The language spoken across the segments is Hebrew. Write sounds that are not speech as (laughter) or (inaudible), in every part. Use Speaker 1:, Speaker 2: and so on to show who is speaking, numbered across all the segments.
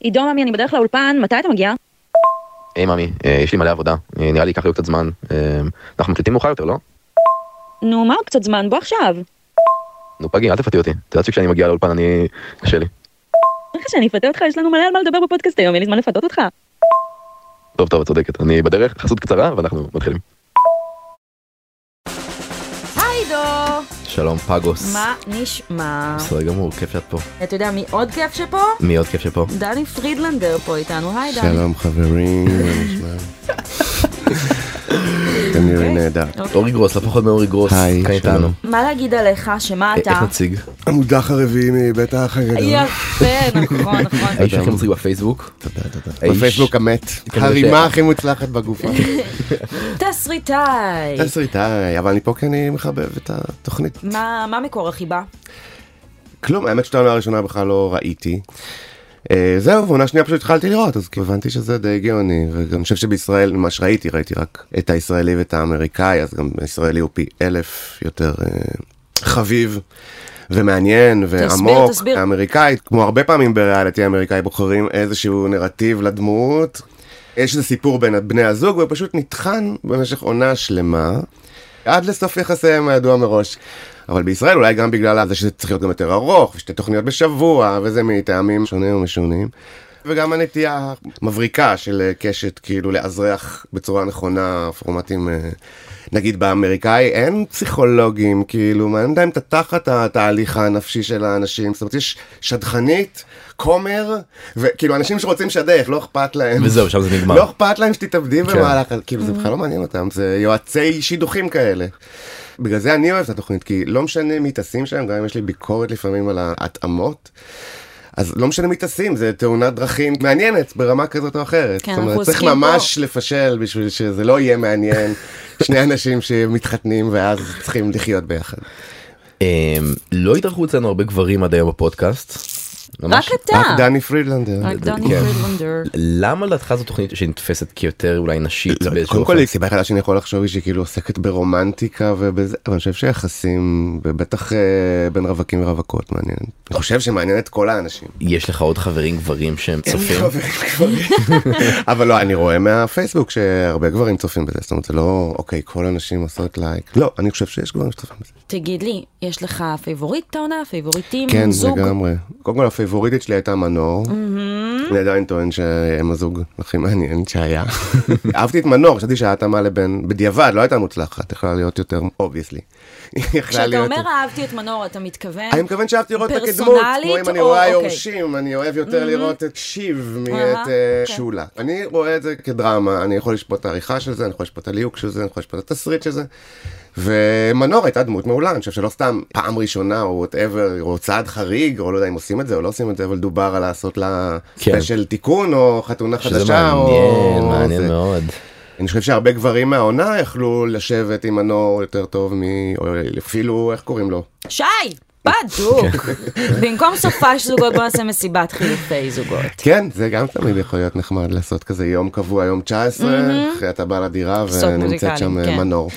Speaker 1: עידו ממי, אני בדרך לאולפן, מתי אתה מגיע?
Speaker 2: היי ממי, אה, יש לי מלא עבודה, אה, נראה לי ייקח לי עוד קצת זמן. אה, אנחנו מקליטים מאוחר יותר, לא?
Speaker 1: נו, מה עוד קצת זמן? בוא עכשיו.
Speaker 2: נו פגי, אל תפתי אותי. את יודעת שכשאני מגיע לאולפן אני... קשה לי.
Speaker 1: אומר לך שאני אפתה אותך, יש לנו מלא על מה לדבר בפודקאסט היום, אין לי זמן לפתות אותך.
Speaker 2: טוב, טוב, את צודקת. אני בדרך, חסות קצרה, ואנחנו מתחילים.
Speaker 3: היי דו!
Speaker 2: שלום פגוס.
Speaker 3: מה נשמע?
Speaker 2: בסדר גמור, כיף שאת פה.
Speaker 3: אתה יודע מי עוד כיף שפה?
Speaker 2: מי עוד כיף שפה?
Speaker 3: דני פרידלנדר פה איתנו, היי דני.
Speaker 4: שלום חברים, מה נשמע? אתם נראים נהדר.
Speaker 2: אורי גרוס, לא פחות מאורי גרוס.
Speaker 4: היי,
Speaker 2: כאן
Speaker 4: שלום.
Speaker 2: איתנו.
Speaker 3: מה להגיד עליך, שמה
Speaker 2: אה, לא-
Speaker 3: אתה?
Speaker 2: איך נציג?
Speaker 4: המודח הרביעי מבית האח הגדול.
Speaker 3: יפה, נכון, נכון.
Speaker 2: (laughs) האיש הכי מצחיק בפייסבוק.
Speaker 4: תודה, תודה.
Speaker 2: האיש-
Speaker 4: בפייסבוק המת.
Speaker 2: כנראה
Speaker 4: הרימה
Speaker 2: ש-
Speaker 4: הכי מוצלחת בגוף.
Speaker 2: אה.
Speaker 3: תסריטאי.
Speaker 4: תסריטאי, אבל אני פה כי אני מחבב את התוכנית.
Speaker 3: מה מה מקור החיבה?
Speaker 4: כלום, האמת שאת העונה הראשונה בכלל לא ראיתי. אה, זהו, ועונה שנייה פשוט התחלתי לראות, אז כאילו הבנתי שזה די הגיוני, ואני חושב שבישראל, מה שראיתי, ראיתי רק את הישראלי ואת האמריקאי, אז גם הישראלי הוא פי אלף יותר אה, חביב. ומעניין ועמוק,
Speaker 3: תסביר.
Speaker 4: האמריקאי, כמו הרבה פעמים בריאליטי האמריקאי בוחרים איזשהו נרטיב לדמות. יש איזה סיפור בין בני הזוג ופשוט נטחן במשך עונה שלמה, עד לסוף יחסיהם הידוע מראש. אבל בישראל אולי גם בגלל זה שזה צריך להיות גם יותר ארוך, ושתי תוכניות בשבוע, וזה מטעמים שונים ומשונים. וגם הנטייה המבריקה של אה, קשת כאילו לאזרח בצורה נכונה פורמטים אה, נגיד באמריקאי אין פסיכולוגים כאילו מעניין להם את התחת התהליך הנפשי של האנשים זאת אומרת יש שדכנית כומר וכאילו אנשים שרוצים לשדך לא אכפת להם
Speaker 2: וזהו, שם זה נגמר.
Speaker 4: לא אכפת להם שתתאבדי
Speaker 2: כן.
Speaker 4: במהלך הזה, כאילו זה בכלל לא מעניין אותם, זה יועצי שידוכים כאלה. בגלל זה אני אוהב את התוכנית, כי לא משנה מי טסים שם, גם אם יש לי ביקורת לפעמים על ההתאמות. אז לא משנה מי טסים, זה תאונת דרכים מעניינת ברמה כזאת או אחרת.
Speaker 3: כן,
Speaker 4: זאת אומרת,
Speaker 3: אנחנו
Speaker 4: צריך
Speaker 3: עוסקים
Speaker 4: ממש לפשל בשביל שזה לא יהיה מעניין, שני אנשים שמתחתנים ואז צריכים לחיות ביחד.
Speaker 2: אמ, לא התארחו אצלנו הרבה גברים עד היום בפודקאסט.
Speaker 3: רק
Speaker 2: ממש-
Speaker 3: אתה.
Speaker 4: רק דני פרידלנדר.
Speaker 3: רק דני
Speaker 2: כן.
Speaker 3: פרידלנדר.
Speaker 2: למה לדעתך זו תוכנית שנתפסת כיותר אולי נשית באיזשהו
Speaker 4: לא, קודם כל,
Speaker 2: אופן?
Speaker 4: הסיבה היחידה שאני יכול לחשוב היא שהיא כאילו עוסקת ברומנטיקה ובזה, אבל אני חושב שיחסים, ובטח אה, בין רווקים ורווקות, מעניין. אני חושב שמעניין את כל האנשים.
Speaker 2: יש לך עוד חברים גברים שהם
Speaker 4: (laughs)
Speaker 2: צופים?
Speaker 4: אבל לא, אני רואה מהפייסבוק שהרבה גברים צופים בזה, זאת אומרת, זה לא, אוקיי, כל הנשים עושות לייק. לא, אני חושב שיש גברים שצופים בזה.
Speaker 3: תגיד לי, יש לך פייבוריט העונה? פייבוריטים?
Speaker 4: כן,
Speaker 3: זוג?
Speaker 4: לגמרי. קודם כל, הפייבוריטית שלי הייתה מנור. אני עדיין טוען שהם הזוג הכי מעניין שהיה. (laughs) אהבתי את מנור, חשבתי שההתאמה לבן, בדיעבד, לא הייתה מוצלחת, יכלה להיות יותר, אובייסלי.
Speaker 3: כשאתה אומר אהבתי את מנור, אתה מתכוון?
Speaker 4: אני מכוון שאהבתי לראות אותה כדמות,
Speaker 3: פרסונלית
Speaker 4: כמו אם אני
Speaker 3: או-
Speaker 4: רואה
Speaker 3: אוקיי.
Speaker 4: יורשים, אני אוהב יותר לראות את שיב
Speaker 3: אהה,
Speaker 4: מאת אה,
Speaker 3: אוקיי.
Speaker 4: שולה. אני רואה את זה כדרמה, אני יכול לשפוט את העריכה של זה, אני יכול לשפוט את הליהוק של זה, אני יכול לשפוט את התסריט של זה. ומנור הייתה דמות מעולה, אני חושב שלא סתם פעם ראשונה או וואטאבר, או צעד חריג, או לא יודע אם עושים את זה או לא עושים את זה, אבל דובר על לעשות לה
Speaker 2: כן.
Speaker 4: ספיישל תיקון או חתונה
Speaker 2: שזה
Speaker 4: חדשה. או-
Speaker 2: מעניין, מעניין
Speaker 4: זה.
Speaker 2: מאוד.
Speaker 4: אני חושב שהרבה גברים מהעונה יכלו לשבת עם מנור יותר טוב מ... או אפילו, איך קוראים לו?
Speaker 3: שי! בדוק. במקום סופש זוגות בוא נעשה מסיבת חילופי זוגות.
Speaker 4: כן, זה גם תמיד יכול להיות נחמד לעשות כזה יום קבוע, יום 19, אחרי אתה בא לדירה
Speaker 3: סוד
Speaker 4: ונמצאת
Speaker 3: מוזיקליים,
Speaker 4: שם אה,
Speaker 3: כן.
Speaker 4: מנור.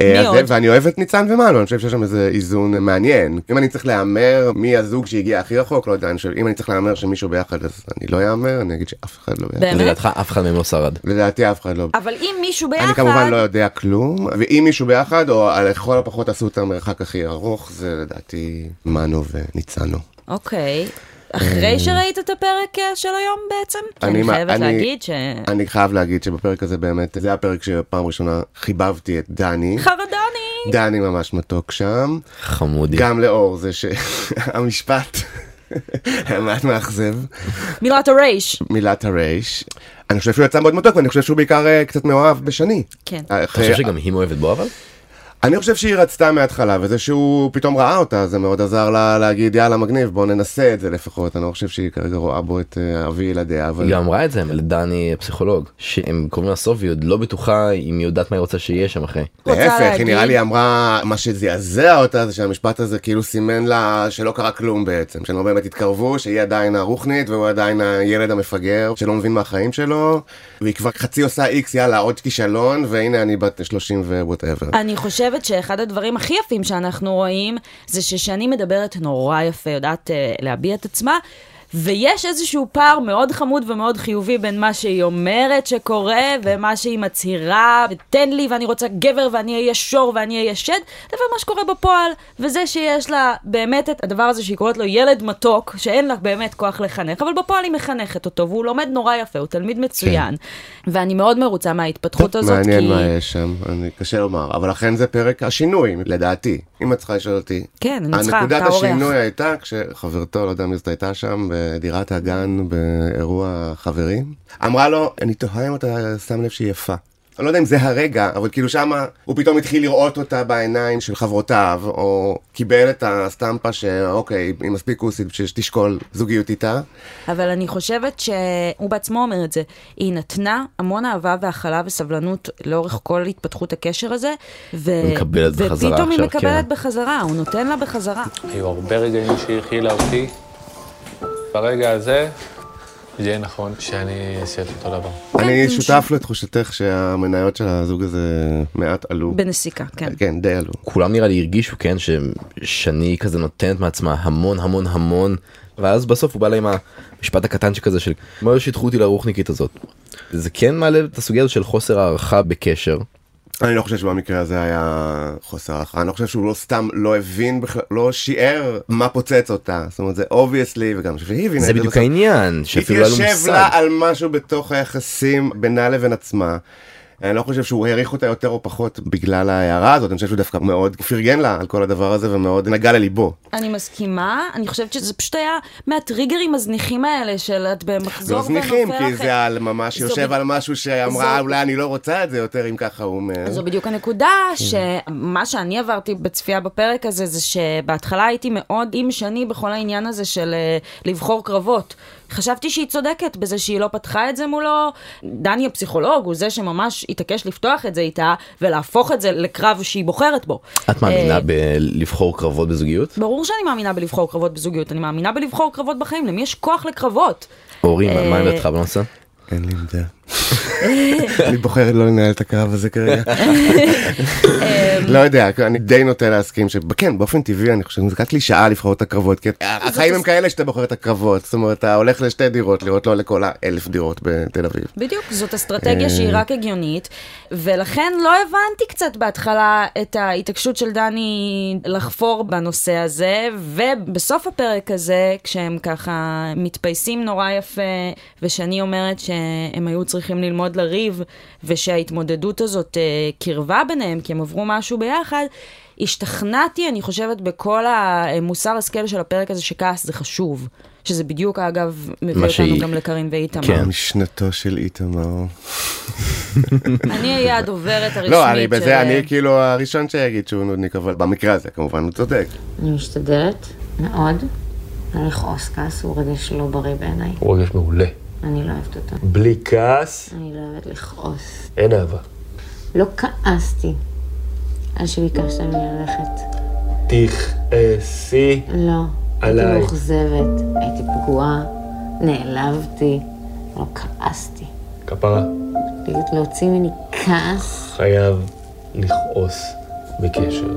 Speaker 4: אה,
Speaker 3: מי
Speaker 4: אז זה-
Speaker 3: עוד?
Speaker 4: ואני אוהב את ניצן ומנו, אני חושב שיש שם איזה איזון מעניין. אם אני צריך להמר מי הזוג שהגיע הכי רחוק, לא יודע, אני חושב, אם אני צריך להמר שמישהו ביחד, אז אני לא יאמר, אני אגיד שאף אחד לא ביחד.
Speaker 3: באמת?
Speaker 2: לדעתך אף אחד מהם לא שרד.
Speaker 4: לדעתי אף אחד לא.
Speaker 3: אבל אם מישהו ביחד...
Speaker 4: אני כמובן לא יודע כלום, ואם מישהו ביחד, או על לכל הפחות עשו את המרחק הכי ארוך, זה לדעתי מנו וניצנו.
Speaker 3: אוקיי. אחרי שראית את הפרק אה, של היום בעצם? כי אני
Speaker 4: מה-
Speaker 3: חייבת
Speaker 4: אה. אני-
Speaker 3: להגיד ש...
Speaker 4: אני חייב להגיד שבפרק הזה באמת, זה הפרק שפעם ראשונה חיבבתי את דני.
Speaker 3: חרדני!
Speaker 4: דני ממש מתוק שם.
Speaker 2: חמודי.
Speaker 4: גם לאור זה שהמשפט היה מעט מאכזב.
Speaker 3: מילת הרייש.
Speaker 4: מילת הרייש. אני חושב שהוא יצא מאוד מתוק ואני חושב שהוא בעיקר אה, קצת מאוהב בשני. אה,
Speaker 3: כן.
Speaker 2: אתה חושב שגם היא מאוהבת בו אבל?
Speaker 4: אני חושב שהיא רצתה מההתחלה, וזה שהוא פתאום ראה אותה, זה מאוד עזר לה להגיד, יאללה, מגניב, בוא ננסה את זה לפחות. אני לא חושב שהיא כרגע רואה בו את אה, אבי ילדיה, אבל...
Speaker 2: היא גם אמרה את זה לדני הפסיכולוג שהם קוראים לה סוף והיא עוד לא בטוחה אם היא יודעת מה היא רוצה שיהיה שם אחרי.
Speaker 3: רוצה
Speaker 4: להפך, היא נראה
Speaker 3: להגיד-
Speaker 4: לי אמרה, מה שזעזע אותה זה שהמשפט הזה כאילו סימן לה שלא קרה כלום בעצם, שהם לא באמת התקרבו, שהיא עדיין הרוחנית והוא עדיין הילד המפגר שלא מבין מהחיים שלו, והיא כבר חצי עושה איקס, יאללה, עוד כישלון, והנה אני בת 30 ווואטאבר.
Speaker 3: אני חושבת שאחד הדברים הכי יפים שאנחנו רואים זה ששני מדברת נורא יפה, יודעת אה, להביע את עצמה. ויש איזשהו פער מאוד חמוד ומאוד חיובי בין מה שהיא אומרת שקורה ומה שהיא מצהירה, תן לי ואני רוצה גבר ואני אהיה שור ואני אהיה שד, לבין מה שקורה בפועל, וזה שיש לה באמת את הדבר הזה שהיא קוראת לו ילד מתוק, שאין לה באמת כוח לחנך, אבל בפועל היא מחנכת אותו, והוא לומד נורא יפה, הוא תלמיד מצוין. ואני מאוד מרוצה מההתפתחות הזאת, כי...
Speaker 4: כן. מעניין מה יש שם, אני קשה לומר, אבל לכן זה פרק השינוי, לדעתי, אם את צריכה לשאול אותי.
Speaker 3: כן, אני צריכה,
Speaker 4: הנקודת
Speaker 3: אתה אורח.
Speaker 4: השינוי הייתה כשחברתו, לא יודע מי זאת הייתה שם, בדירת הגן באירוע חברים, אמרה לו, אני תוהה אם אתה שם לב שהיא יפה. אני לא יודע אם זה הרגע, אבל כאילו שמה הוא פתאום התחיל לראות אותה בעיניים של חברותיו, או קיבל את הסטמפה שאוקיי, היא מספיק כוסית בשביל שתשקול זוגיות איתה.
Speaker 3: אבל אני חושבת שהוא בעצמו אומר את זה. היא נתנה המון אהבה והכלה וסבלנות לאורך כל התפתחות הקשר הזה, ו...
Speaker 2: מקבלת בחזרה
Speaker 3: ופתאום היא
Speaker 2: עכשיו,
Speaker 3: מקבלת
Speaker 2: כן.
Speaker 3: בחזרה, הוא נותן לה בחזרה.
Speaker 5: היו הרבה רגעים שהיא הכילה אותי. ברגע הזה, זה יהיה נכון שאני אעשה את אותו דבר.
Speaker 4: אני
Speaker 3: כן,
Speaker 4: שותף לתחושתך שהמניות של הזוג הזה מעט עלו.
Speaker 3: בנסיקה, כן.
Speaker 4: כן, די עלו.
Speaker 2: כולם נראה לי הרגישו כן ש- שני כזה נותנת מעצמה המון המון המון ואז בסוף הוא בא לה עם המשפט הקטנצ'יק הזה של מה שיתחו אותי לרוחניקית הזאת. זה כן מעלה את הסוגיה הזו של חוסר הערכה בקשר.
Speaker 4: אני לא חושב שבמקרה הזה היה חוסר הערכה, אני לא חושב שהוא לא סתם לא הבין בכלל, לא שיער מה פוצץ אותה, זאת אומרת זה אובייסלי וגם אני חושב שהיא הבינה
Speaker 2: זה
Speaker 4: את
Speaker 2: בדיוק
Speaker 4: בסוף.
Speaker 2: העניין שאפילו לא היה לו
Speaker 4: התיישב לה
Speaker 2: מושג.
Speaker 4: על משהו בתוך היחסים בינה לבין עצמה. אני לא חושב שהוא העריך אותה יותר או פחות בגלל ההערה הזאת, אני חושב שהוא דווקא מאוד פרגן לה על כל הדבר הזה ומאוד נגע לליבו.
Speaker 3: אני מסכימה, אני חושבת שזה פשוט היה מהטריגרים הזניחים האלה של את במחזור
Speaker 4: לא
Speaker 3: ונופל
Speaker 4: זניחים, כי
Speaker 3: אחרי-
Speaker 4: זה על ממש
Speaker 3: זו
Speaker 4: יושב
Speaker 3: בד-
Speaker 4: על משהו שאמרה
Speaker 3: זו-
Speaker 4: אולי אני לא רוצה את זה יותר אם ככה הוא אומר.
Speaker 3: זו בדיוק הנקודה, שמה שאני עברתי בצפייה בפרק הזה, זה שבהתחלה הייתי מאוד עם שני בכל העניין הזה של אה, לבחור קרבות. חשבתי שהיא צודקת בזה שהיא לא פתחה את זה מולו. דני הפסיכולוג הוא זה שממש התעקש לפתוח את זה איתה ולהפוך את זה לקרב שהיא בוחרת בו.
Speaker 2: את מאמינה בלבחור קרבות בזוגיות?
Speaker 3: ברור שאני מאמינה בלבחור קרבות בזוגיות, אני מאמינה בלבחור קרבות בחיים, למי יש כוח לקרבות?
Speaker 2: אורי מה- מה
Speaker 3: אה,
Speaker 2: עמדתך בנושא?
Speaker 4: אין לי עמדה. אני בוחר לא לנהל את הקרב הזה כרגע. לא יודע, אני די נוטה להסכים שכן, באופן טבעי אני חושב שזה קצת קלישאה לבחור את הקרבות, כי החיים הם כאלה שאתה בוחר את הקרבות, זאת אומרת אתה הולך לשתי דירות לראות לא לכל האלף דירות בתל אביב.
Speaker 3: בדיוק, זאת אסטרטגיה שהיא
Speaker 2: אה.
Speaker 3: רק הגיונית, ולכן לא הבנתי קצת בהתחלה את ההתעקשות של דני לחפור בנושא הזה, ובסוף הפרק הזה, כשהם ככה מתפייסים נורא יפה, ושאני אומרת שהם היו צריכים ללמוד לריב, ושההתמודדות הזאת אה, קרבה ביניהם, כי הם עברו משהו ביחד, השתכנעתי, אני חושבת, בכל המוסר השכל של הפרק הזה, שכעס זה חשוב. שזה בדיוק, אגב, מביא
Speaker 2: מה
Speaker 3: אותנו
Speaker 2: שהיא-
Speaker 3: גם לקארין ואיתמר.
Speaker 2: כן.
Speaker 4: משנתו של איתמר.
Speaker 3: אני אהיה הדוברת הרשמית
Speaker 4: לא, אני בזה,
Speaker 3: של- אה,
Speaker 4: אני כאילו הראשון שיגיד שהוא נודניק, אבל במקרה הזה כמובן הוא צודק.
Speaker 6: אני משתדלת מאוד לא לכעוס כעס, הוא רגש לא בריא בעיניי.
Speaker 5: הוא רגש מעולה.
Speaker 6: אני לא אוהבת אותו.
Speaker 5: בלי כעס,
Speaker 6: אני לא אוהבת לכעוס.
Speaker 5: אין אהבה.
Speaker 6: לא כעסתי על שביקשת ממני ללכת.
Speaker 5: תכעסי.
Speaker 6: לא.
Speaker 5: עליי.
Speaker 6: הייתי מאוכזבת, הייתי פגועה, נעלבתי, לא כעסתי.
Speaker 5: כפרה.
Speaker 6: פשוט להוציא ממני כעס,
Speaker 5: חייב לכעוס בקשר.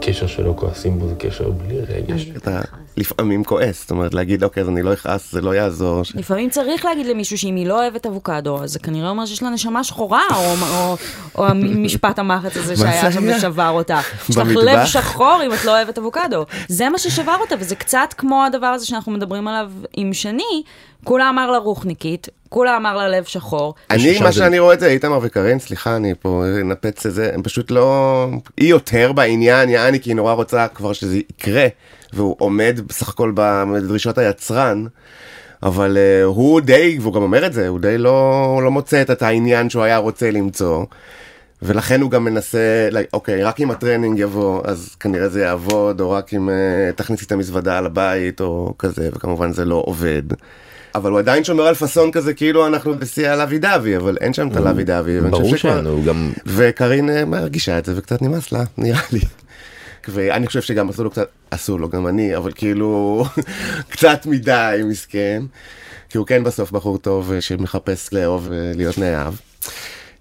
Speaker 5: קשר שלא כועסים בו זה קשר בלי רגש.
Speaker 4: אתה לפעמים כועס, זאת אומרת להגיד אוקיי אז אני לא אכעס זה לא יעזור.
Speaker 3: לפעמים צריך להגיד למישהו שאם היא לא אוהבת אבוקדו, אז זה כנראה אומר שיש לה נשמה שחורה, או, או, או המשפט המחץ הזה
Speaker 4: מה זה
Speaker 3: שהיה שם
Speaker 4: היה?
Speaker 3: ושבר אותה. יש לך
Speaker 4: במטבח?
Speaker 3: לב שחור אם את לא אוהבת אבוקדו. זה מה ששבר אותה, וזה קצת כמו הדבר הזה שאנחנו מדברים עליו עם שני, כולה אמר לה רוחניקית, כולה אמר לה לב שחור.
Speaker 4: אני,
Speaker 2: ששם
Speaker 4: מה
Speaker 2: זה-
Speaker 4: שאני רואה את זה, איתמר וקארין, סליחה, אני פה נפץ את זה, הם פשוט לא... היא יותר בעניין, יעני, כי היא נורא רוצה כבר שזה יקרה, והוא עומד בסך הכל בדרישות היצרן, אבל uh, הוא די, והוא גם אומר את זה, הוא די לא, לא מוצא את, את העניין שהוא היה רוצה למצוא. ולכן הוא גם מנסה, like, אוקיי, רק אם הטרנינג יבוא, אז כנראה זה יעבוד, או רק אם uh, תכניסי את המזוודה על הבית, או כזה, וכמובן זה לא עובד. אבל הוא עדיין שומר על פאסון כזה, כאילו אנחנו בשיא הלוי דווי, אבל אין שם את הלוי דווי. ואני חושב
Speaker 2: ברור
Speaker 4: שכבר-
Speaker 2: שאין, הוא גם
Speaker 4: וקארין אה, מרגישה את זה וקצת נמאס לה, (laughs) נראה לי. ואני חושב שגם עשו לו קצת, עשו לו גם אני, אבל כאילו (laughs) קצת מדי מסכן. כי הוא כן בסוף בחור טוב אה, שמחפש לאהוב ולהיות אה, נאהב.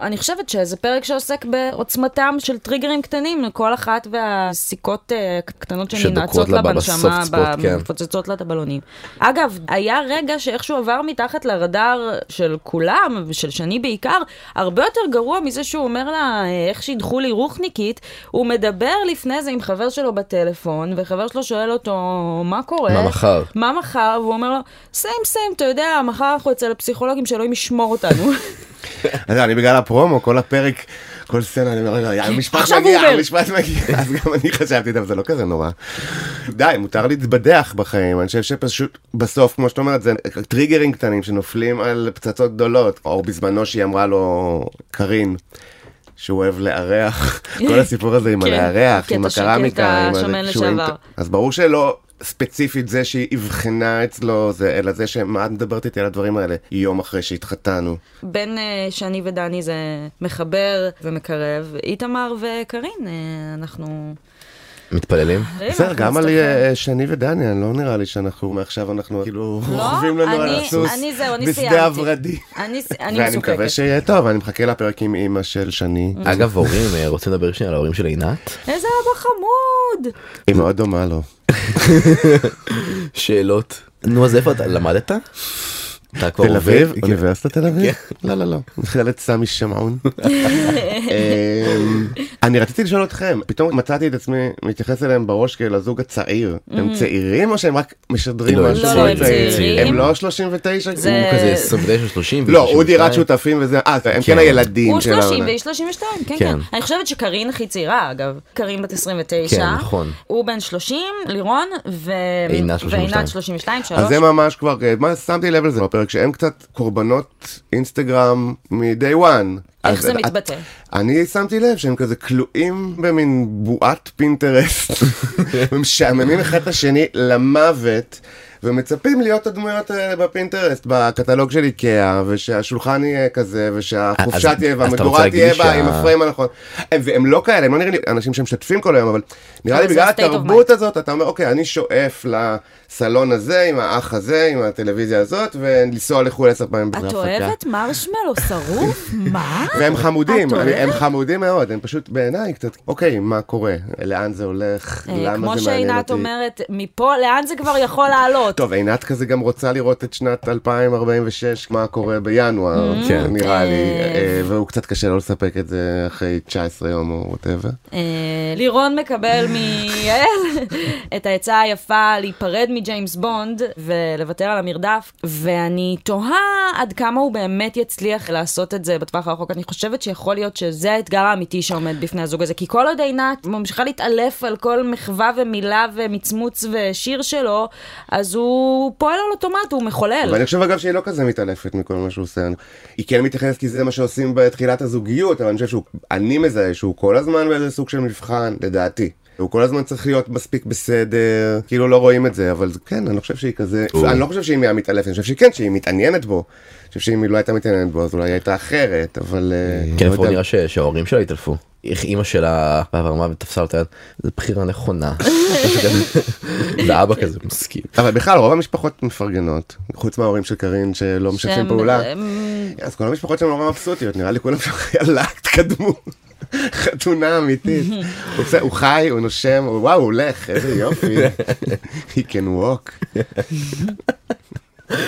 Speaker 3: אני חושבת שזה פרק שעוסק בעוצמתם של טריגרים קטנים לכל אחת והסיכות אה, הקטנות
Speaker 2: שדוקרות
Speaker 3: שננעצות
Speaker 2: לה
Speaker 3: לה
Speaker 2: ב-
Speaker 3: בנשמה,
Speaker 2: בסופט ספוט, כן.
Speaker 3: מפוצצות לה את הבלונים. אגב, היה רגע שאיכשהו עבר מתחת לרדאר של כולם, של שני בעיקר, הרבה יותר גרוע מזה שהוא אומר לה, אה, איך שידחו לי רוחניקית, הוא מדבר לפני זה עם חבר שלו בטלפון, וחבר שלו שואל אותו, מה קורה?
Speaker 2: מה מחר?
Speaker 3: מה מחר? והוא אומר לו, סיים סיים, אתה יודע, מחר אנחנו אצל הפסיכולוגים, שאלוהים ישמור אותנו.
Speaker 4: אתה יודע, אני בגלל הפרומו, כל הפרק, כל סצנה, אני אומר, רגע, יא, המשפט
Speaker 3: עכשיו הוא
Speaker 4: מגיע,
Speaker 3: אומר.
Speaker 4: המשפט מגיע, (laughs) אז גם אני חשבתי, טוב, זה לא כזה נורא. די, מותר להתבדח בחיים, אני חושב שפשוט, בסוף, כמו שאת אומרת, זה טריגרים קטנים שנופלים על פצצות גדולות, או בזמנו שהיא אמרה לו, קארין. שהוא
Speaker 3: (laughs)
Speaker 4: אוהב לארח, כל הסיפור הזה עם
Speaker 3: כן,
Speaker 4: הלארח,
Speaker 3: כי
Speaker 4: עם
Speaker 3: אתה שקל,
Speaker 4: הקרמיקה,
Speaker 3: אתה
Speaker 4: עם
Speaker 3: שמן
Speaker 4: השועים,
Speaker 3: לשעבר.
Speaker 4: אז ברור שלא ספציפית זה שהיא אבחנה אצלו, זה, אלא זה שמה את מדברת איתי על הדברים האלה יום אחרי שהתחתנו.
Speaker 3: בין אה, שני ודני זה מחבר ומקרב, איתמר וקארין, אה, אנחנו...
Speaker 2: מתפללים?
Speaker 4: בסדר, גם על
Speaker 3: אנחנו
Speaker 4: אה, שני ודני, אני לא נראה לי שאנחנו מעכשיו אנחנו כאילו רוכבים לנו על
Speaker 3: לא, אני-
Speaker 4: הסוס
Speaker 3: אני זהו, אני סיימתי.
Speaker 4: בשדה הוורדי.
Speaker 3: אני ס- אני
Speaker 4: ואני
Speaker 3: מסופקת.
Speaker 4: מקווה שיהיה טוב, אני מחכה לפרק עם אימא של שני.
Speaker 3: Mm.
Speaker 2: אגב הורים אה, רוצים לדבר שנייה על ההורים של עינת?
Speaker 3: איזה אבא חמוד!
Speaker 4: היא מאוד דומה לו.
Speaker 2: שאלות. נו אז איפה אתה למדת? אתה כבר
Speaker 4: תל אביב,
Speaker 2: עובד? כן.
Speaker 4: אוניברסיטת תל אביב? לא, לא, לא. מכללת סמי
Speaker 3: (laughs)
Speaker 4: שמעון. אמ, אני רציתי לשאול אתכם, פתאום מצאתי את עצמי מתייחס אליהם בראש כאל הזוג הצעיר. הם צעירים או שהם רק משדרים
Speaker 2: לא, הם
Speaker 4: משהו?
Speaker 3: Mm. לא, הם
Speaker 4: צעיר?
Speaker 3: צעירים.
Speaker 4: הם לא 39?
Speaker 2: הוא
Speaker 3: זה-
Speaker 2: כזה 29 30.
Speaker 4: לא, אודי רק שותפים וזה, אה, הם כן
Speaker 3: הוא
Speaker 4: הילדים של
Speaker 3: 30
Speaker 4: העונה.
Speaker 3: והיא 32, כן,
Speaker 2: כן.
Speaker 3: כן. אני חושבת שקארין הכי צעירה, אגב. קארין בת 29.
Speaker 2: כן, נכון.
Speaker 3: הוא בן 30, לירון, ו...
Speaker 2: עינת 32.
Speaker 3: ועינת 32, 3.
Speaker 4: אז זה ממש כבר, אה, מה, שמתי לב לזה בפרק, שהם קצת קורבנות אינסטגרם מ-day one.
Speaker 3: איך
Speaker 4: אז
Speaker 3: זה
Speaker 4: את-
Speaker 3: מתבטא?
Speaker 4: אני שמתי לב שהם כזה כלואים במין בועת
Speaker 2: (laughs)
Speaker 4: פינטרסט, ומשעממים אחד את השני למוות, ומצפים להיות הדמויות האלה בפינטרסט, בקטלוג של איקאה, ושהשולחן יהיה כזה,
Speaker 2: אז-
Speaker 4: ושהחופשה תהיה,
Speaker 2: אז אתה רוצה
Speaker 4: והמדורה
Speaker 2: להגיד
Speaker 4: תהיה
Speaker 2: לי
Speaker 4: בה,
Speaker 2: שה-
Speaker 4: עם הפריים הנכון. הם- והם לא כאלה, הם לא נראים לי אנשים שמשתתפים כל היום, אבל נראה
Speaker 3: אבל זה
Speaker 4: לי בגלל
Speaker 3: ה-state of
Speaker 4: התרבות הזאת, אתה אומר, אוקיי, אני שואף לסלון הזה, עם האח הזה, עם הטלוויזיה הזאת, ולנסוע לחו"ל עשר פעמים בזמן
Speaker 3: את
Speaker 4: הפקה.
Speaker 3: אוהבת מרשמלו
Speaker 4: (laughs)
Speaker 3: שרוף? מה?
Speaker 4: והם חמודים,
Speaker 3: את
Speaker 4: אני- הם
Speaker 3: אוהבת?
Speaker 4: חמודים מאוד, הם פשוט בעיניי קצת, אוקיי, מה קורה? לאן זה הולך?
Speaker 3: אה,
Speaker 4: למה
Speaker 3: כמו
Speaker 4: זה מעניין
Speaker 3: שעינת
Speaker 4: אותי?
Speaker 3: אומרת, מפה לאן זה כבר יכול לעלות?
Speaker 4: טוב, עינת כזה גם רוצה לראות את שנת 2046, מה קורה בינואר,
Speaker 2: כן.
Speaker 4: נראה לי,
Speaker 3: אה.
Speaker 4: אה, והוא קצת קשה לו לספק את זה אחרי 19 יום או ווטאבר.
Speaker 3: אה, לירון מקבל מיעל (laughs) את העצה היפה להיפרד מג'יימס בונד ולוותר על המרדף, ואני תוהה עד כמה הוא באמת יצליח לעשות את זה בטווח הרחוק. אני חושבת שיכול להיות שזה האתגר האמיתי שעומד בפני הזוג הזה, כי כל עוד עינת ממשיכה להתעלף על כל מחווה ומילה ומצמוץ ושיר שלו, אז הוא פועל על אוטומט, הוא מחולל.
Speaker 4: ואני חושב אגב שהיא לא כזה מתעלפת מכל מה שהוא עושה. היא כן מתייחסת כי זה מה שעושים בתחילת הזוגיות, אבל אני חושב שהוא, אני מזהה שהוא כל הזמן באיזה סוג של מבחן, לדעתי. הוא כל הזמן צריך להיות מספיק בסדר, כאילו לא רואים את זה, אבל זה- כן, אני לא חושב שהיא כזה,
Speaker 2: אוי.
Speaker 4: אני לא חושב שהיא מהמתעלפת, אני חושב שהיא כן, שהיא מתעניינת בו. אני חושב שאם היא לא הייתה מתעניינת בו, אז אולי היא הייתה אחרת, אבל... אה,
Speaker 2: כן,
Speaker 4: לא
Speaker 2: לפחות
Speaker 4: יודע.
Speaker 2: נראה ש- שההורים שלה התעלפו. איך אימא שלה באה ואמרה ותפסה אותה, זו בחירה
Speaker 3: (laughs)
Speaker 2: נכונה. (laughs) זה אבא כזה מסכים.
Speaker 4: אבל בכלל, רוב המשפחות מפרגנות, חוץ מההורים של קארין שלא משתפים
Speaker 3: שהם-
Speaker 4: פעולה.
Speaker 3: הם-
Speaker 4: אז כל המשפחות שלהם נורא מבסוטיות, נראה לי כולם שם יאללה, תקדמו. חתונה (laughs) אמיתית. הוא עושה- הוא חי, הוא נושם, הוא- וואו, הוא הולך, איזה (laughs) יופי. He can walk.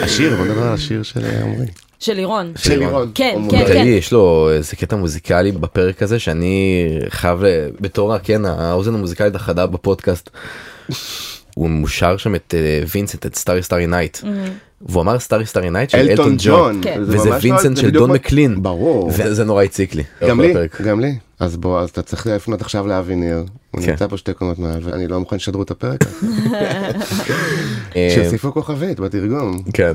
Speaker 4: השיר, בוא נדבר על השיר של עמרי.
Speaker 3: של לירון.
Speaker 4: של לירון.
Speaker 3: כן,
Speaker 4: הוא
Speaker 3: כן,
Speaker 4: מודע.
Speaker 2: תגיד, יש לו איזה קטע מוזיקלי בפרק הזה שאני חייב ל- בתור כן האוזן המוזיקלית החדה בפודקאסט. הוא מושר שם את אה, וינסנט את סטארי סטארי נייט.
Speaker 3: Mm-hmm.
Speaker 2: והוא אמר סטארי סטארי נייט של אלטון ג'ון.
Speaker 3: כן.
Speaker 4: זה
Speaker 2: וזה
Speaker 4: ממש לא-
Speaker 2: וינסנט
Speaker 4: זה
Speaker 2: של
Speaker 4: בדיוק
Speaker 2: דון
Speaker 4: מה-
Speaker 2: מקלין.
Speaker 4: ברור.
Speaker 2: וזה נורא הציק לי.
Speaker 4: גם לי,
Speaker 2: בפרק.
Speaker 4: גם לי. אז בוא, אז אתה צריך לפנות עכשיו לאבי ניר. הוא
Speaker 2: כן.
Speaker 4: נמצא פה שתי קומות מעל, ואני לא מוכן שישדרו את הפרק.
Speaker 2: אה,
Speaker 4: שיוסיפו כוכבית בתרגום.
Speaker 2: כן.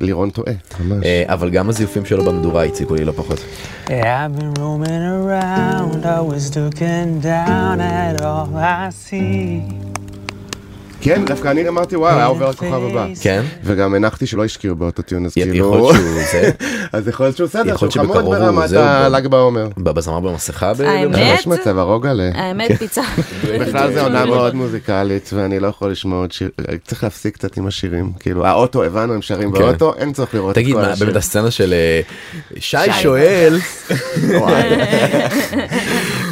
Speaker 4: לירון טועה. ממש.
Speaker 2: אה, אבל גם הזיופים שלו במדורה הציקו לי לא פחות.
Speaker 7: Yeah, I've been roaming around, always looking down at all I see.
Speaker 4: כן, דווקא אני אמרתי, וואי, היה עובר הכוכב הבא.
Speaker 2: כן?
Speaker 4: וגם הנחתי שלא השקיעו באוטוטיון, אז
Speaker 2: יכול
Speaker 4: כאילו...
Speaker 2: להיות שהוא זה, (laughs)
Speaker 4: אז יכול להיות שהוא בסדר,
Speaker 2: יכול
Speaker 4: שהוא
Speaker 2: להיות
Speaker 4: חמוד
Speaker 2: שבקרוב הוא
Speaker 4: ברמת
Speaker 2: זהו,
Speaker 4: הל"ג בעומר. אה,
Speaker 2: בזמר במסכה ב-
Speaker 3: האמת?
Speaker 4: יש מצב, הרוגלה.
Speaker 3: האמת, פיצה.
Speaker 4: כן. אה,
Speaker 3: אה,
Speaker 4: בכלל זה עונה מאוד מוזיקלית ואני לא יכול לשמוע עוד שיר, אה, צריך להפסיק קצת עם השירים, כאילו האוטו הבנו הם שרים
Speaker 2: כן.
Speaker 4: באוטו, אין צורך לראות את
Speaker 2: תגיד
Speaker 4: כל
Speaker 2: מה
Speaker 4: השיר.
Speaker 2: באמת הסצנה של אה, שי שואל
Speaker 4: (laughs) וואי.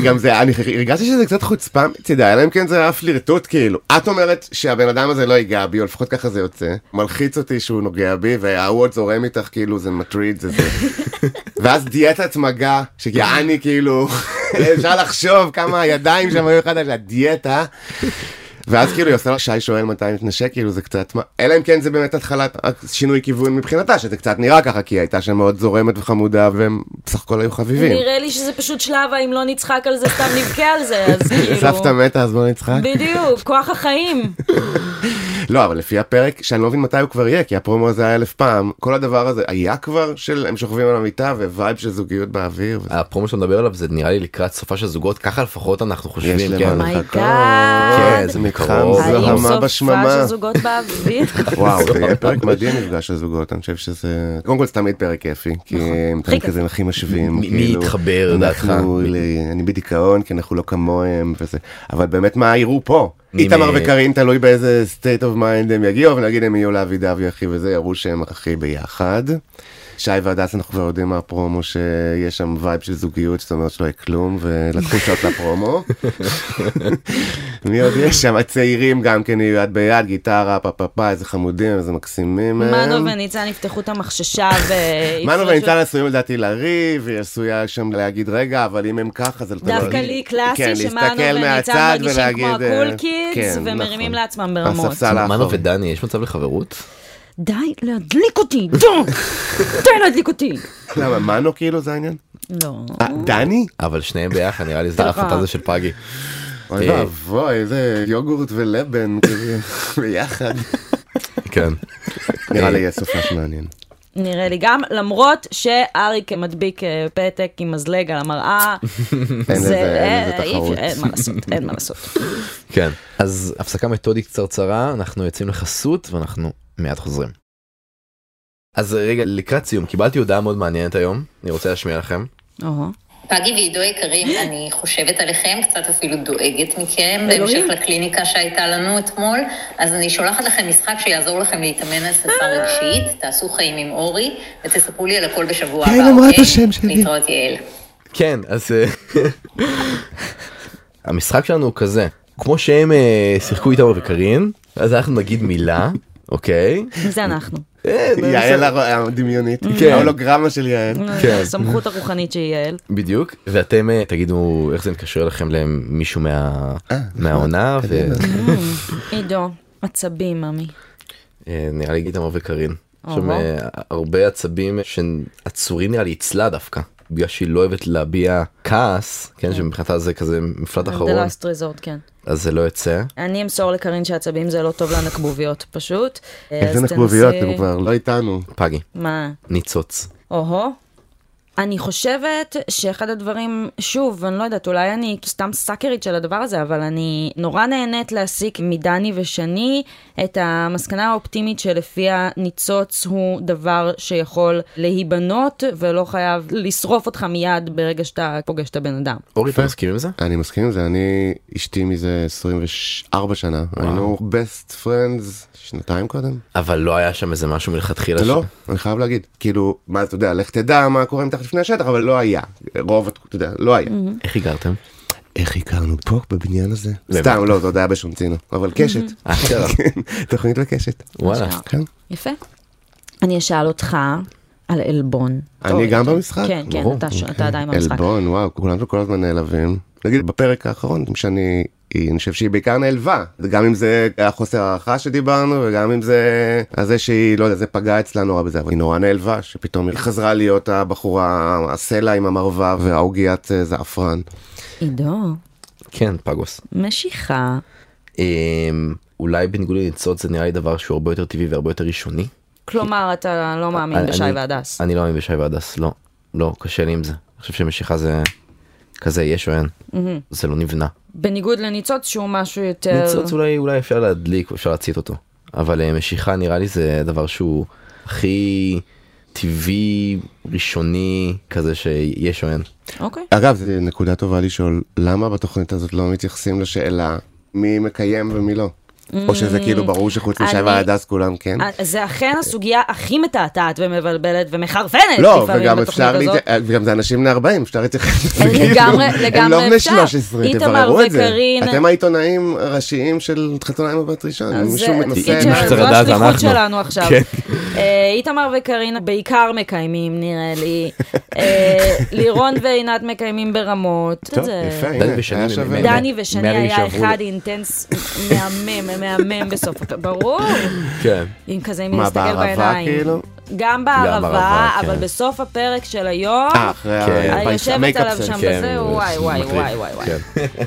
Speaker 4: גם זה, אני הרגשתי שזה קצת חוצפה מצידה, אלא אם כן זה היה פלירטוט כאילו. את אומרת שהבן אדם הזה לא ייגע בי, או לפחות ככה זה יוצא. מלחיץ אותי שהוא נוגע בי, וההוא עוד זורם איתך כאילו זה מטריד, זה זה. ואז דיאטת מגע, שיעני כאילו, (laughs) אפשר לחשוב כמה הידיים שם היו אחד על הדיאטה. ואז כאילו היא עושה לה שי שואל מתי מתנשק כאילו זה קצת מה אלא אם כן זה באמת התחלת שינוי כיוון מבחינתה שזה קצת נראה ככה כי היא הייתה שם מאוד זורמת וחמודה והם בסך הכל היו חביבים.
Speaker 3: נראה לי שזה פשוט שלבה, אם לא נצחק על זה, סתם נבכה על זה,
Speaker 4: (laughs)
Speaker 3: אז כאילו...
Speaker 4: סבתא מתה אז בוא נצחק.
Speaker 3: בדיוק, כוח החיים.
Speaker 4: לא אבל לפי הפרק שאני לא מבין מתי הוא כבר יהיה כי הפרומו הזה היה אלף פעם כל הדבר הזה היה כבר של הם שוכבים על המיטה ווייב של זוגיות באוויר. וזה-
Speaker 2: הפרומו שאתה מדבר עליו זה נראה לי לקראת סופה של זוגות ככה לפחות אנחנו
Speaker 4: יש
Speaker 2: חושבים כן.
Speaker 4: למה
Speaker 3: Oh My
Speaker 4: לחכות.
Speaker 3: God.
Speaker 4: כן, זה מתחם
Speaker 2: האם
Speaker 4: זוהמה
Speaker 3: האם סופה של
Speaker 4: בשממה.
Speaker 3: זוגות
Speaker 4: (laughs)
Speaker 3: באוויר? (laughs)
Speaker 4: וואו, זה יהיה פרק מדהים מפגש הזוגות, אני חושב שזה... קודם כל זה תמיד פרק כיפי, כי הם תמיד
Speaker 3: הכי
Speaker 4: כזה הכי משווים.
Speaker 2: מי- מי
Speaker 4: כאילו,
Speaker 2: יתחבר,
Speaker 4: אנחנו-
Speaker 2: דעתך?
Speaker 4: ל- אני בדיכאון, כי אנחנו לא כמוהם וזה, אבל באמת מה יראו פה?
Speaker 2: מי-
Speaker 4: איתמר
Speaker 2: מי-
Speaker 4: וקארין תלוי באיזה state of mind הם יגיעו, אבל נגיד הם יהיו לאבי דבי אחי וזה, יראו שהם הכי ביחד. שי והדס אנחנו כבר יודעים מהפרומו שיש שם וייב של זוגיות, זאת אומרת שלא יהיה כלום, ולקחו שעות לפרומו. מי עוד יש שם? הצעירים גם כן יהיו יד ביד, גיטרה, פאפאפה, איזה חמודים, איזה מקסימים. הם.
Speaker 3: מנו וניצן יפתחו את המחששה ו...
Speaker 4: מנו וניצן עשויים לדעתי לריב, היא עשויה שם להגיד רגע, אבל אם הם ככה זה...
Speaker 3: דווקא לי
Speaker 4: כן,
Speaker 3: קלאסי
Speaker 4: להסתכל
Speaker 3: שמנו וניצן
Speaker 4: מהצד
Speaker 3: מרגישים כמו
Speaker 4: ולהגיד, אה,
Speaker 3: הקול קידס
Speaker 4: כן,
Speaker 3: ומרימים
Speaker 4: נכון.
Speaker 3: לעצמם ברמות.
Speaker 4: הספסל
Speaker 2: מנו
Speaker 4: האחורי.
Speaker 2: ודני יש מצב לחברות?
Speaker 3: די להדליק אותי, דו! די להדליק אותי!
Speaker 4: למה, מנו כאילו זה העניין?
Speaker 3: לא.
Speaker 4: אה, דני?
Speaker 2: אבל שניהם ביחד נראה לי זה
Speaker 3: סליחה.
Speaker 2: ההחלטה הזו של פאגי.
Speaker 4: אוי
Speaker 2: אה.
Speaker 4: ואבוי, איזה יוגורט ולבן כזה ביחד.
Speaker 2: כן.
Speaker 3: אה,
Speaker 4: נראה לי יהיה סופש
Speaker 3: (laughs)
Speaker 4: מעניין.
Speaker 3: נראה לי גם, למרות שאריק מדביק אה, פתק עם מזלג על המראה.
Speaker 4: אין לזה- אין
Speaker 3: אה,
Speaker 4: לזה
Speaker 3: אי אפשר-
Speaker 4: תחרות.
Speaker 3: אין מה לעשות, אין מה לעשות.
Speaker 2: כן. אז הפסקה מתודית קצרצרה אנחנו יוצאים לחסות ואנחנו מיד חוזרים. אז רגע לקראת סיום קיבלתי הודעה מאוד מעניינת היום אני רוצה להשמיע לכם.
Speaker 3: (laughs) אוהו.
Speaker 8: פגי ועידו יקרים, אני חושבת עליכם, קצת אפילו דואגת מכם, בהמשך
Speaker 3: אלוהים.
Speaker 8: לקליניקה שהייתה לנו אתמול, אז אני שולחת לכם משחק שיעזור לכם להתאמן על שפה רגשית, תעשו חיים עם אורי, ותספרו לי על הכל בשבוע הבא,
Speaker 4: יעל
Speaker 8: אוקיי?
Speaker 4: אמרה את השם שלי.
Speaker 8: להתראות יעל.
Speaker 2: כן אז אה, (laughs) המשחק שלנו הוא כזה כמו שהם אה, שיחקו איתנו וקארין אז אנחנו נגיד מילה אוקיי.
Speaker 3: זה אנחנו.
Speaker 2: אה,
Speaker 4: (laughs) יעל הר-
Speaker 3: (laughs)
Speaker 4: הדמיונית,
Speaker 2: כן.
Speaker 4: ההולוגרמה של יעל.
Speaker 3: אה,
Speaker 2: כן.
Speaker 3: הסמכות הרוחנית של יעל.
Speaker 2: בדיוק ואתם אה, תגידו איך זה מתקשר לכם למישהו מה- מהעונה (laughs)
Speaker 3: עידו, עצבים, ממי.
Speaker 2: ונראה אה, לי איתמר וקארין. יש
Speaker 3: אוהו.
Speaker 2: שם אה, הרבה עצבים שעצורים נראה לי אצלה דווקא בגלל שהיא לא אוהבת להביע כעס כן שמבחינתה זה לא- כזה מפלט
Speaker 3: The
Speaker 2: אחרון
Speaker 3: last resort, כן.
Speaker 2: אז זה לא יצא.
Speaker 3: אני אמסור לקרין שעצבים זה לא טוב לנקבוביות, פשוט.
Speaker 4: איזה
Speaker 3: אז
Speaker 4: נקבוביות,
Speaker 3: תנסי-
Speaker 4: הם כבר לא איתנו.
Speaker 2: פגי
Speaker 3: מה?
Speaker 2: ניצוץ
Speaker 3: או-הו. אני חושבת שאחד הדברים, שוב, אני לא יודעת, אולי אני סתם סאקרית של הדבר הזה, אבל אני נורא נהנית להסיק מדני ושני את המסקנה האופטימית שלפיה ניצוץ הוא דבר שיכול להיבנות ולא חייב לשרוף אותך מיד ברגע שאתה פוגש את הבן אדם.
Speaker 2: אורי אתה מסכים עם זה?
Speaker 4: אני מסכים עם זה, אני אשתי מזה 24 שנה, היינו best friends שנתיים קודם.
Speaker 2: אבל לא היה שם איזה משהו מלכתחילה.
Speaker 4: לא,
Speaker 2: ש-
Speaker 4: אני חייב להגיד, כאילו, מה אתה יודע, לך תדע מה קורה מתחת לפני השטח, אבל לא היה, רוב, אתה יודע, לא היה.
Speaker 2: איך הגעתם?
Speaker 4: איך הכרנו פה בבניין הזה?
Speaker 2: באמת?
Speaker 4: סתם, לא, זה עוד היה בשונצינו, אבל
Speaker 3: (laughs)
Speaker 4: קשת.
Speaker 2: אשכרה.
Speaker 4: כן, תוכנית בקשת.
Speaker 2: וואלה.
Speaker 4: כן.
Speaker 3: יפה. אני אשאל אותך על עלבון.
Speaker 4: אני גם במשחק? אוקיי.
Speaker 3: כן, כן,
Speaker 2: ברור,
Speaker 3: אתה ש- אתה עדיין במשחק.
Speaker 4: עלבון, וואו, כולנו כל הזמן נעלבים. נגיד, בפרק האחרון, שאני, היא- אני חושב שהיא בעיקר נעלבה. גם אם זה היה חוסר הערכה שדיברנו, וגם אם זה... אז זה שהיא, לא יודע, זה פגע אצלה נורא בזה, אבל היא נורא נעלבה, שפתאום היא חזרה להיות הבחורה, הסלע עם המרווה והעוגיית אה, זעפרן.
Speaker 3: עידו,
Speaker 2: כן פגוס.
Speaker 3: משיכה.
Speaker 2: אמ, אולי בניגוד לניצוץ זה נראה לי דבר שהוא הרבה יותר טבעי והרבה יותר ראשוני.
Speaker 3: כלומר, אתה לא מאמין
Speaker 2: אני-
Speaker 3: בשי
Speaker 2: אני-
Speaker 3: והדס.
Speaker 2: אני לא מאמין בשי והדס לא לא קשה לי עם זה. אני חושב שמשיכה זה כזה יש או אין. זה לא נבנה.
Speaker 3: בניגוד לניצוץ שהוא משהו יותר...
Speaker 2: ניצוץ אולי אולי אפשר להדליק אפשר להצית אותו אבל אה, משיכה נראה לי זה הדבר שהוא הכי טבעי ראשוני כזה שיש או אין.
Speaker 3: אוקיי.
Speaker 4: אגב, זו נקודה טובה לשאול, למה בתוכנית הזאת לא מתייחסים לשאלה מי מקיים ומי לא? או שזה כאילו ברור שחוץ
Speaker 3: Mm, אני-
Speaker 4: משי והדס כולם כן?
Speaker 3: אה, זה אכן הסוגיה הכי מתעתעת ומבלבלת (laughs) ומחרפנת
Speaker 4: לא,
Speaker 3: לפעמים
Speaker 4: וגם
Speaker 3: בתוכנית
Speaker 4: אפשר,
Speaker 3: הזאת.
Speaker 4: להת- וגם זה אנשים בני 40, אפשר
Speaker 3: (laughs)
Speaker 4: להתייחס לזה,
Speaker 3: לגמרי,
Speaker 4: הם לא
Speaker 3: לגמרי
Speaker 4: בני
Speaker 3: אפשר.
Speaker 4: 13,
Speaker 3: איתמר
Speaker 4: תבררו את זה.
Speaker 3: וקארין-
Speaker 4: אתם העיתונאים הראשיים של חתונה עם הבת ראשון, אם
Speaker 3: אז אה,
Speaker 4: מישהו
Speaker 3: זה
Speaker 4: מנסה...
Speaker 3: התפקיד
Speaker 2: מי
Speaker 3: שלנו,
Speaker 2: שצריך
Speaker 3: זו
Speaker 2: לדעת,
Speaker 3: השליחות
Speaker 2: אנחנו.
Speaker 3: שלנו עכשיו.
Speaker 2: כן.
Speaker 3: אה, איתמר וקארין בעיקר מקיימים, נראה לי. אה, לירון ועינת מקיימים ברמות. את
Speaker 4: טוב,
Speaker 3: זה.
Speaker 4: יפה,
Speaker 2: דני
Speaker 4: הנה,
Speaker 2: ושני
Speaker 4: היה שווה.
Speaker 2: מ- מ-
Speaker 3: דני ושני
Speaker 2: מהרגע
Speaker 3: היה
Speaker 2: שעברו
Speaker 3: אחד
Speaker 2: ל-
Speaker 3: אינטנס מהמם, מהמם בסוף, הפ- ברור.
Speaker 2: כן.
Speaker 3: אם כזה, אם
Speaker 4: מה,
Speaker 3: להסתכל
Speaker 4: בערבה,
Speaker 3: בעיניים.
Speaker 4: כאילו?
Speaker 3: גם
Speaker 2: לא, בערבה,
Speaker 3: בערבה,
Speaker 2: כן.
Speaker 3: אבל בסוף הפרק של היום,
Speaker 4: אה, אחרי
Speaker 2: כן.
Speaker 4: ה-
Speaker 3: אני יושבת
Speaker 4: המייקאפ
Speaker 3: עליו
Speaker 4: סשן.
Speaker 3: שם
Speaker 2: כן,
Speaker 3: בזה,
Speaker 2: הוא
Speaker 3: וואי, וואי,
Speaker 2: מקליט.
Speaker 3: וואי, וואי, וואי.
Speaker 2: כן.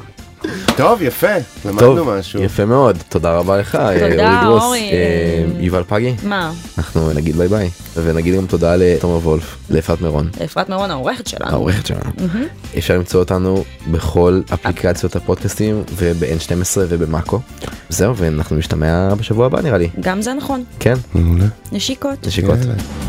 Speaker 4: טוב, יפה, למדנו
Speaker 2: טוב,
Speaker 4: משהו.
Speaker 2: יפה מאוד, תודה רבה לך, אה,
Speaker 3: תודה,
Speaker 2: אורי גרוס,
Speaker 3: אורי.
Speaker 2: אה, יובל פגי,
Speaker 3: מה,
Speaker 2: אנחנו נגיד ביי ביי, ונגיד גם תודה לתומר וולף, לאפרת מירון,
Speaker 3: אפרת מירון העורכת שלנו.
Speaker 2: העורכת שלנו. אפשר למצוא אותנו בכל אפליקציות הפודקאסטים וב-N12 ובמאקו. זהו, ואנחנו נשתמע בשבוע הבא נראה לי.
Speaker 3: גם זה נכון.
Speaker 2: כן,
Speaker 4: מעולה.
Speaker 3: נשיקות.
Speaker 2: נשיקות.
Speaker 4: יאללה.